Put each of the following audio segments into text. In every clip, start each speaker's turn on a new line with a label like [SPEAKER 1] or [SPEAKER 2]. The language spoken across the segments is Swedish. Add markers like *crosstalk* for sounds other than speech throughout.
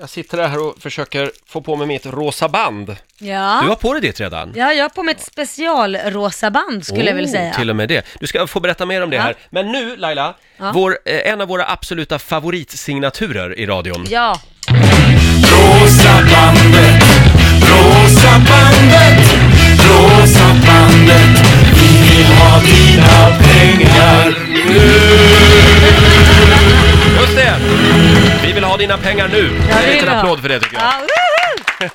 [SPEAKER 1] Jag sitter här och försöker få på mig mitt rosa band. Du
[SPEAKER 2] Ja.
[SPEAKER 1] har på dig ditt redan.
[SPEAKER 2] ja, jag har på mig ett specialrosa band skulle jag vilja
[SPEAKER 1] Oh,
[SPEAKER 2] säga.
[SPEAKER 1] Till och med det. Du ska få berätta mer om det
[SPEAKER 2] Ja.
[SPEAKER 1] här. Men nu, Laila,
[SPEAKER 2] Ja.
[SPEAKER 1] vår, eh, en av våra absoluta favoritignaturer i radion.
[SPEAKER 2] Ja,
[SPEAKER 3] Rosa bandet, rosa bandet, rosa bandet. Vi vill ha dina pengar.
[SPEAKER 1] Just det! Vi vill ha dina pengar nu.
[SPEAKER 2] Ja,
[SPEAKER 1] en
[SPEAKER 2] det
[SPEAKER 1] liten
[SPEAKER 2] vill jag.
[SPEAKER 1] applåd för det tycker jag.
[SPEAKER 2] ja woho!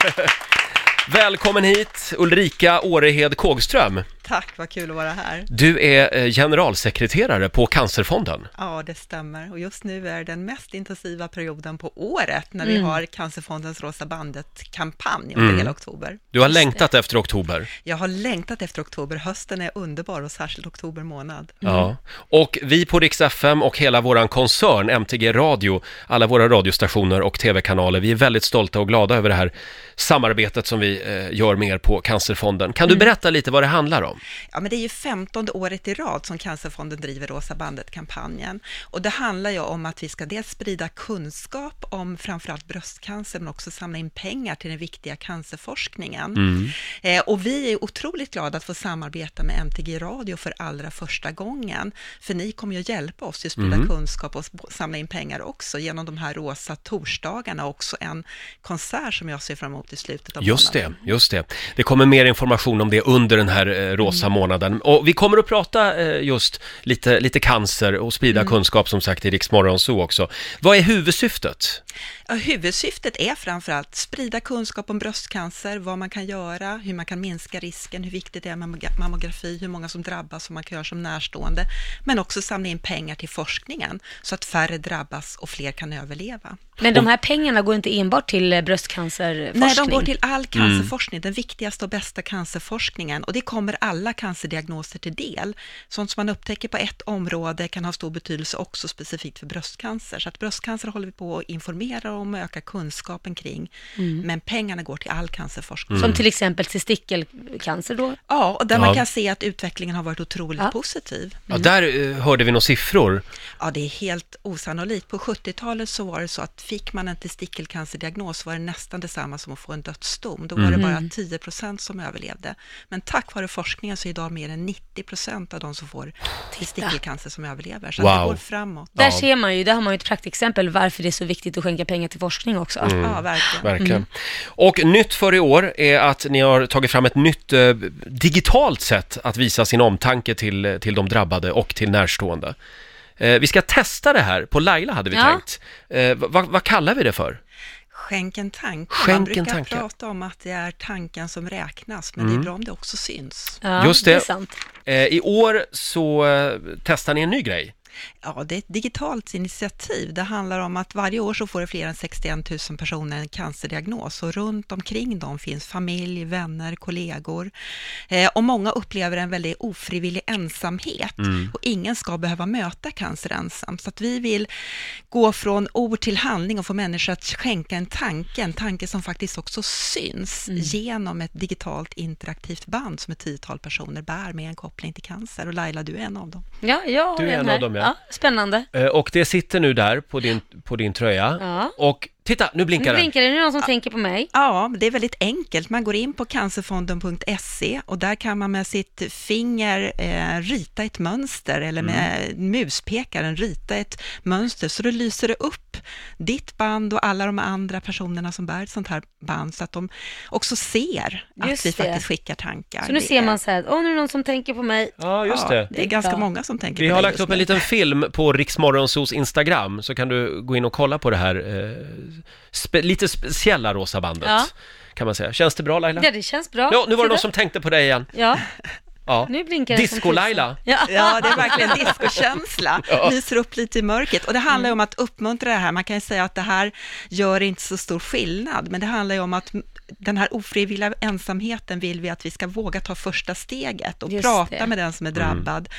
[SPEAKER 1] Välkommen hit, Ulrika Årehed Kågström.
[SPEAKER 4] Tack, vad kul att vara här.
[SPEAKER 1] Du är eh, generalsekreterare på Cancerfonden.
[SPEAKER 4] Ja, det stämmer. Och just nu är den mest intensiva perioden på året när vi har Cancerfondens Rosa Bandet-kampanj under hela oktober.
[SPEAKER 1] Du har längtat efter oktober.
[SPEAKER 4] Jag har längtat efter oktober. Hösten är underbar och särskilt oktober månad.
[SPEAKER 1] Ja. Och vi på Rix FM och hela våran koncern, MTG Radio, alla våra radiostationer och tv-kanaler, vi är väldigt stolta och glada över det här samarbetet som vi eh, gör med er på Cancerfonden. Kan du berätta lite vad det handlar om?
[SPEAKER 4] Ja, men det är ju 15 året i rad som Cancerfonden driver Rosa bandet-kampanjen. Och det handlar ju om att vi ska dels sprida kunskap om framförallt bröstcancer, men också samla in pengar till den viktiga cancerforskningen.
[SPEAKER 1] Mm.
[SPEAKER 4] Eh, och vi är otroligt glada att få samarbeta med MTG Radio för allra första gången, för ni kommer ju hjälpa oss att
[SPEAKER 1] Mm.
[SPEAKER 4] sprida kunskap och sp- samla in pengar också genom de här rosa torsdagarna och också en konsert som jag ser fram emot i slutet av
[SPEAKER 1] Just
[SPEAKER 4] månaden.
[SPEAKER 1] det, just det. Det kommer mer information om det under den här eh, rosa månaden. Och vi kommer att prata eh, just lite, lite cancer och sprida kunskap som sagt i Rix Morgon Zoo också. Vad är huvudsyftet?
[SPEAKER 4] Ja, huvudsyftet är framförallt sprida kunskap om bröstcancer, vad man kan göra, hur man kan minska risken, hur viktigt det är med mammogra- mammografi, hur många som drabbas och man kan göra som närstående, men också samla in pengar till forskningen så att färre drabbas och fler kan överleva.
[SPEAKER 2] Men de här pengarna går inte enbart till eh, bröstcancerforskning?
[SPEAKER 4] Nej, de går till all cancerforskning, den viktigaste och bästa cancerforskningen och det kommer alla cancerdiagnoser till del. Sånt som man upptäcker på ett område kan ha stor betydelse också specifikt för bröstcancer. Så att bröstcancer håller vi på att informera om och öka kunskapen kring, men pengarna går till all cancerforskning.
[SPEAKER 1] Mm.
[SPEAKER 2] Som till exempel testikelcancer då?
[SPEAKER 4] Ja, och där
[SPEAKER 1] Ja.
[SPEAKER 4] man kan se att utvecklingen har varit otroligt
[SPEAKER 2] Ja.
[SPEAKER 4] positiv.
[SPEAKER 1] Ja, där eh, hörde vi några siffror.
[SPEAKER 4] Ja, det är helt osannolikt. På 70-talet så var det så att fick man en testikelcancerdiagnos var det nästan detsamma som att få en dödsdom. Då var
[SPEAKER 1] Mm.
[SPEAKER 4] det bara 10 procent som överlevde. Men tack vare forskningen så är idag mer än 90 procent av de som får testikelcancer som överlever. Så att
[SPEAKER 1] Wow.
[SPEAKER 4] det går framåt.
[SPEAKER 2] Där ser man ju, där har man ju ett praktexempel varför det är så viktigt att skänka pengar till forskning också.
[SPEAKER 1] Mm.
[SPEAKER 4] Ja, verkligen.
[SPEAKER 1] Verkligen.
[SPEAKER 2] Mm.
[SPEAKER 1] Och nytt för i år är att ni har tagit fram ett nytt eh, digitalt sätt att visa sin omtanke till, till de drabbade och till närstående. Eh, vi ska testa det här, på Laila hade vi
[SPEAKER 2] Ja.
[SPEAKER 1] tänkt. Eh, vad- vad, vad kallar vi det för?
[SPEAKER 4] Skänk en tanke.
[SPEAKER 1] Skänk en
[SPEAKER 4] man brukar
[SPEAKER 1] tanke. Mm.
[SPEAKER 4] prata om att det är tanken som räknas, men det är bra om det också syns.
[SPEAKER 2] Ja,
[SPEAKER 1] Just
[SPEAKER 2] det är
[SPEAKER 1] det.
[SPEAKER 2] sant.
[SPEAKER 1] Eh, I år så eh, testar ni en ny grej.
[SPEAKER 4] Ja, det är ett digitalt initiativ. Det handlar om att varje år så får det fler än 61 000 personer en cancerdiagnos och runt omkring dem finns familj, vänner, kollegor. Eh, och många upplever en väldigt ofrivillig ensamhet och ingen ska behöva möta cancer ensam. Så att vi vill gå från ord till handling och få människor att skänka en tanke, en tanke som faktiskt också syns genom ett digitalt interaktivt band som ett tiotal personer bär med en koppling till cancer. Och Laila, du är en av dem.
[SPEAKER 2] Ja, jag har
[SPEAKER 1] Du är en
[SPEAKER 2] en
[SPEAKER 1] av
[SPEAKER 2] här.
[SPEAKER 1] dem, ja.
[SPEAKER 2] spännande.
[SPEAKER 1] Eh, och det sitter nu där på din, på din tröja.
[SPEAKER 2] Ja.
[SPEAKER 1] Och titta, nu blinkar
[SPEAKER 2] Nu
[SPEAKER 1] den.
[SPEAKER 2] blinkar det, nu är det någon som tänker på mig.
[SPEAKER 4] Ja, det är väldigt enkelt. Man går in på cancerfonden.se och där kan man med sitt finger eh, rita ett mönster eller med
[SPEAKER 1] Mm.
[SPEAKER 4] muspekaren rita ett mönster så det lyser det upp ditt band och alla de andra personerna som bär ett sånt här band så att de också ser att
[SPEAKER 2] Just
[SPEAKER 4] vi
[SPEAKER 2] det.
[SPEAKER 4] faktiskt skickar tankar.
[SPEAKER 2] Så nu
[SPEAKER 4] Det
[SPEAKER 2] ser
[SPEAKER 4] är-
[SPEAKER 2] man så här, åh nu är det någon som tänker på mig.
[SPEAKER 1] Ja, just
[SPEAKER 4] ja,
[SPEAKER 1] det.
[SPEAKER 4] Det är
[SPEAKER 2] Ja.
[SPEAKER 4] ganska många som tänker
[SPEAKER 1] Vi
[SPEAKER 4] på
[SPEAKER 1] har
[SPEAKER 4] det
[SPEAKER 1] lagt
[SPEAKER 4] just
[SPEAKER 1] upp
[SPEAKER 4] nu.
[SPEAKER 1] en liten film på Riksmorgonsos Instagram så kan du gå in och kolla på det här eh, spe, lite speciella rosa bandet.
[SPEAKER 2] Ja.
[SPEAKER 1] Kan man säga. Känns det bra Laila?
[SPEAKER 2] Ja, det känns bra.
[SPEAKER 1] Ja, nu var det
[SPEAKER 2] Titta.
[SPEAKER 1] någon som tänkte på dig igen.
[SPEAKER 2] Ja,
[SPEAKER 1] Ja.
[SPEAKER 2] nu blinkar det som
[SPEAKER 1] Disco-Laila.
[SPEAKER 2] tusan. Ja.
[SPEAKER 4] Ja, det är verkligen
[SPEAKER 2] *laughs*
[SPEAKER 4] discokänsla. Lyser upp lite i mörkret. Och det
[SPEAKER 2] Mm.
[SPEAKER 4] handlar ju om att uppmuntra det här. Man kan ju säga att det här gör inte så stor skillnad, men det handlar ju om att m- den här ofrivilliga ensamheten vill vi att vi ska våga ta första steget och
[SPEAKER 2] Just
[SPEAKER 4] prata
[SPEAKER 2] det. Mm.
[SPEAKER 4] med den som är drabbad.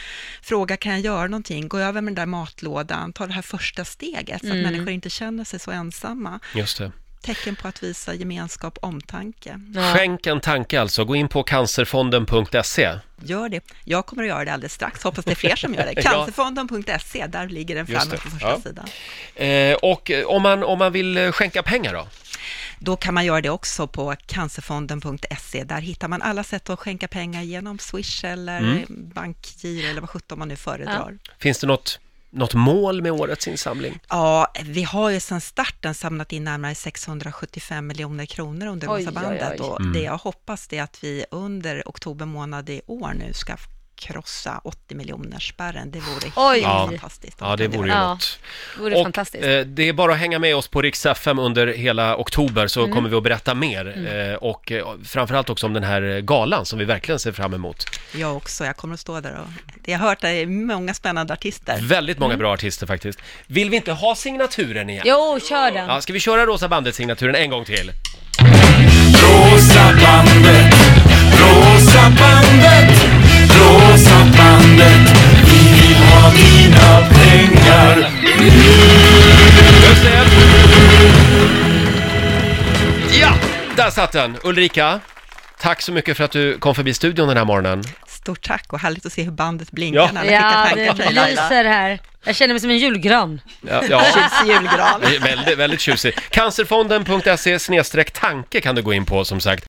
[SPEAKER 4] Fråga, kan jag göra någonting? Gå över
[SPEAKER 2] Mm.
[SPEAKER 4] med den där matlådan, ta det här första steget så att människor inte känner sig så ensamma.
[SPEAKER 1] Just det.
[SPEAKER 4] tecken på att visa gemenskap, omtanke.
[SPEAKER 2] Ja.
[SPEAKER 1] Skänk en tanke alltså, gå in på cancerfonden.se.
[SPEAKER 4] Gör det. Jag kommer att göra det alldeles strax, hoppas det är fler som gör
[SPEAKER 1] *laughs*
[SPEAKER 4] det. Cancerfonden.se, E, där ligger den
[SPEAKER 1] Just
[SPEAKER 4] framme
[SPEAKER 1] det.
[SPEAKER 4] på första
[SPEAKER 1] Ja.
[SPEAKER 4] sidan.
[SPEAKER 1] Eh, och eh, om man, om man vill eh, skänka pengar då?
[SPEAKER 4] Då kan man göra det också på cancerfonden.se. E. Där hittar man alla sätt att skänka pengar genom Swish eller
[SPEAKER 1] Mm.
[SPEAKER 4] bankgiro eller vad sjutton man nu föredrar. Ja.
[SPEAKER 1] Finns det något, något mål med årets insamling?
[SPEAKER 4] vi har ju sedan starten samlat in närmare 675 miljoner kronor under
[SPEAKER 2] Oj,
[SPEAKER 4] Rosa bandet
[SPEAKER 2] oj, oj.
[SPEAKER 4] och
[SPEAKER 1] Mm.
[SPEAKER 4] det jag hoppas det är att vi under oktober månad i år nu ska krossa 80 miljoner spärren. Det vore
[SPEAKER 2] Oj.
[SPEAKER 4] helt
[SPEAKER 1] Ja.
[SPEAKER 4] fantastiskt. om
[SPEAKER 1] Ja, det
[SPEAKER 4] vi kunde
[SPEAKER 1] vore ju
[SPEAKER 4] göra
[SPEAKER 2] Ja,
[SPEAKER 1] något.
[SPEAKER 2] Det vore
[SPEAKER 1] och,
[SPEAKER 2] fantastiskt.
[SPEAKER 1] Eh, det är bara att hänga med oss på Rix FM under hela oktober så kommer vi att berätta mer. Eh, och eh, framförallt också om den här eh, galan som vi verkligen ser fram emot.
[SPEAKER 4] Jag också, jag kommer att stå där och... Jag har hört att det är många spännande artister.
[SPEAKER 1] Väldigt många bra artister faktiskt. Vill vi inte ha signaturen igen?
[SPEAKER 2] Jo, kör den.
[SPEAKER 1] Ja, ska vi köra Rosa bandet-signaturen en gång till?
[SPEAKER 3] Rosa bandet, rosa bandet, rosa bandet. Vi vill ha dina pengar.
[SPEAKER 1] Just det! Ja! Där satt den! Ulrika, tack så mycket för att du kom förbi studion den här morgonen.
[SPEAKER 4] Stort tack och härligt att se hur bandet blinkar
[SPEAKER 1] Ja.
[SPEAKER 4] när alla skickar
[SPEAKER 2] Ja,
[SPEAKER 4] tankar
[SPEAKER 2] det
[SPEAKER 4] till dig Laila.
[SPEAKER 2] lyser här. Jag känner mig som en julgran.
[SPEAKER 1] Ja, ja.
[SPEAKER 4] Tjusig julgran.
[SPEAKER 1] Väldigt, väldigt tjusig. Cancerfonden.se snedstreck tanke kan du gå in på som sagt.